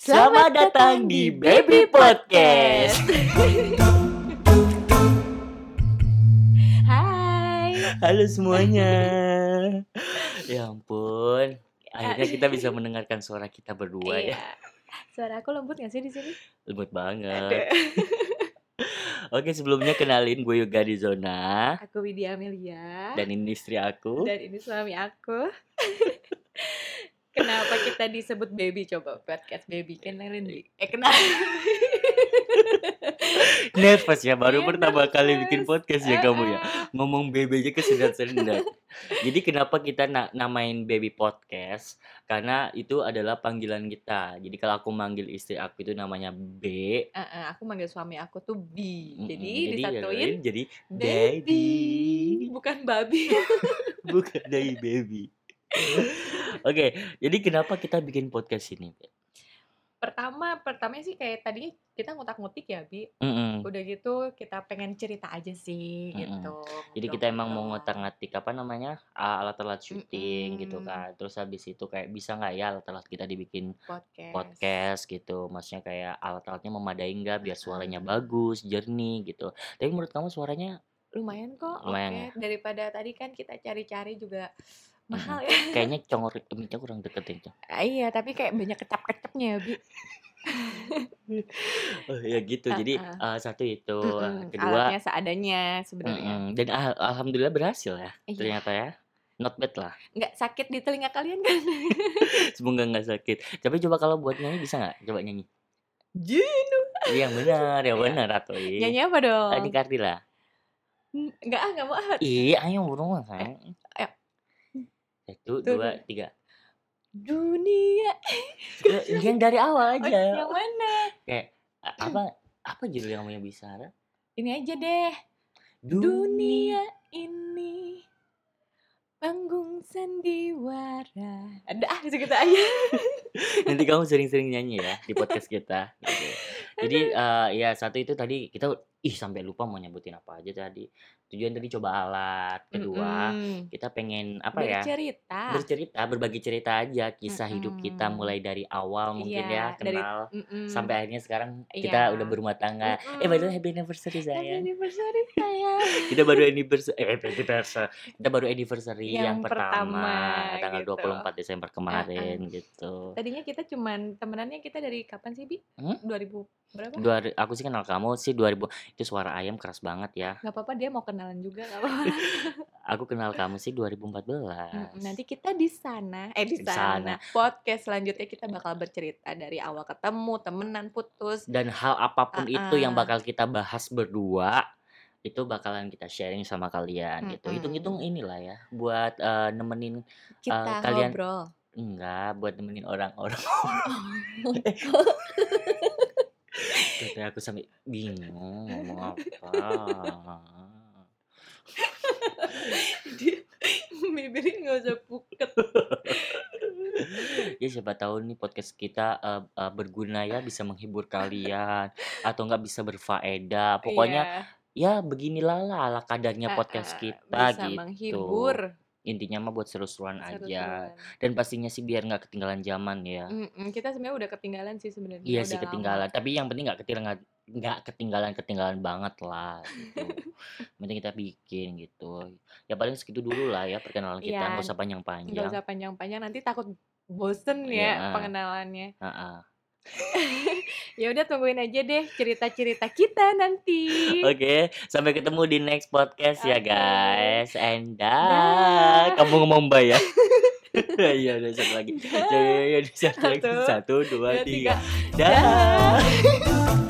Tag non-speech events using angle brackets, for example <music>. Selamat datang di Baby Podcast. Hai. <laughs> Halo <laughs> semuanya. Ya ampun, akhirnya kita bisa mendengarkan suara kita berdua ya. Iya. Suara aku lembut gak sih di sini? Lembut banget. <laughs> Oke, sebelumnya kenalin gue Yoga di zona Aku Widya Amelia dan ini istri aku. Dan ini suami aku. <laughs> Kenapa kita disebut baby coba podcast baby kenalin Wi. Eh kenal. <laughs> Nervous ya, baru Iya, pertama kali nervous. bikin podcast ya kamu ya. <laughs> Ah, Ngomong baby aja <laughs> kesendat-sendat. Jadi kenapa kita na- namain baby podcast? Karena itu adalah panggilan kita. Jadi kalau aku manggil istri aku itu namanya B, ah, ah, aku manggil suami aku tuh Bi. Mm-mm. Jadi ya disatuin doain jadi <laughs> baby. Bukan babi. <laughs> bukan dari baby. Oke, jadi kenapa kita bikin podcast ini? Pertama, pertamanya sih kayak tadinya kita ngutak-ngutik ya, Bi. Mm-mm. udah gitu kita pengen cerita aja sih Mm-mm. gitu Jadi kita emang mau ngotak-ngatik apa namanya ah, alat-alat syuting gitu Mm-mm. kan. Terus habis itu kayak bisa nggak ya alat-alat kita dibikin podcast, podcast gitu. Maksudnya kayak alat-alatnya memadai nggak biar suaranya bagus, jernih gitu. Tapi menurut kamu suaranya lumayan ya. kok Lumayan oke. daripada tadi kan kita cari-cari juga mahal ya kayaknya congor mic-nya kurang deketin. <laughs> Cong. Ah, iya tapi kayak banyak kecap-kecapnya ya Bi Oh, ya gitu. Jadi Ah, ah, satu itu, Mm-mm, kedua alatnya ya. seadanya sebenarnya Mm-mm. Dan al- alhamdulillah berhasil ya Iya. ternyata ya. Not bad lah. nggak sakit di telinga kalian <laughs> kan <laughs> Semoga nggak sakit. Tapi coba kalau buat nyanyi bisa nggak? Coba nyanyi. Jin Iya yang benar, yang Iya. benar atau nyanyi apa dong Tadi Kartila. Mm, nggak ah nggak mau ah Iya, ayo burung kan. Eh, ayo. Satu, Tuh, dua, tiga. dunia Eh, yang dari awal oh, aja. yang mana A- Apa apa judul yang mau bicara? ini aja deh Dunia ini panggung sandiwara. Ada ah gitu aja. <laughs> Nanti kamu sering-sering nyanyi ya di podcast kita. gitu. Jadi eh, ya satu itu tadi kita ih sampai lupa mau nyebutin apa aja tadi. Tujuan tadi coba alat, kedua Mm-mm. kita pengen apa ya? bercerita. Bercerita, berbagi cerita aja kisah hidup kita Ah. Mm-mm. mulai dari awal mungkin Iya, ya dari- kenal Mm-mm. sampai akhirnya sekarang kita Iya. udah berumah tangga. Eh by Mm-mm. the way happy anniversary Happy saya. anniversary saya. Kita baru anniversary, eh, happy anniversary. <laughs> Kita baru anniversary Yang yang, pertama, pertama, tanggal gitu. 24 Desember kemarin gitu. Tadinya kita cuman temenannya kita dari kapan sih, Bi? Hmm? 2000 berapa? Dua, aku sih kenal kamu sih 2000 itu suara ayam keras banget ya. Gak apa-apa dia mau kenalan juga gak apa-apa. Aku kenal kamu sih 2014. Mm-mm. Nanti kita di sana, eh di Nah, Di sana. sana. Podcast selanjutnya kita bakal bercerita dari awal ketemu, temenan, putus. Dan hal apapun itu yang Ah-ah. bakal kita bahas berdua itu bakalan kita sharing sama kalian gitu. Mm-mm. Hitung-hitung inilah ya buat eh, nemenin Eh, Kita kalian- ngobrol. <laughs> enggak buat nemenin orang-orang. Oh. Katanya aku sampai bingung ngomong apa. dia bibirnya nggak usah puket Ya siapa tahu nih podcast kita eh, eh, berguna ya bisa menghibur kalian atau enggak bisa berfaedah. Pokoknya Iya, ya beginilah lah ala kadarnya ah, podcast ah, kita bisa gitu. Nah, menghibur Intinya mah buat seru-seruan aja. seru-seruan. Dan pastinya sih biar nggak ketinggalan zaman ya. Mm-mm, kita sebenarnya udah ketinggalan sih sebenarnya Iya ya udah sih lama. ketinggalan, tapi yang penting nggak ketinggalan nggak ketinggalan ketinggalan banget lah gitu. Yang penting kita bikin gitu. Ya paling segitu dulu lah ya perkenalan kita, Iya, nggak usah nggak panjang-panjang. usah panjang-panjang nanti takut bosen ya Iya. pengenalannya Heeh. ya udah tungguin aja deh cerita-cerita kita nanti Oke, sampai ketemu di next podcast ya Oke. guys. And Dah. dah. Kamu ngomong <laughs> mbak ya? Iya, ada satu lagi. Dah. Iya, iya, ada satu lagi. Satu, Satu, dua, Dua, tiga. tiga. Dah. Dah.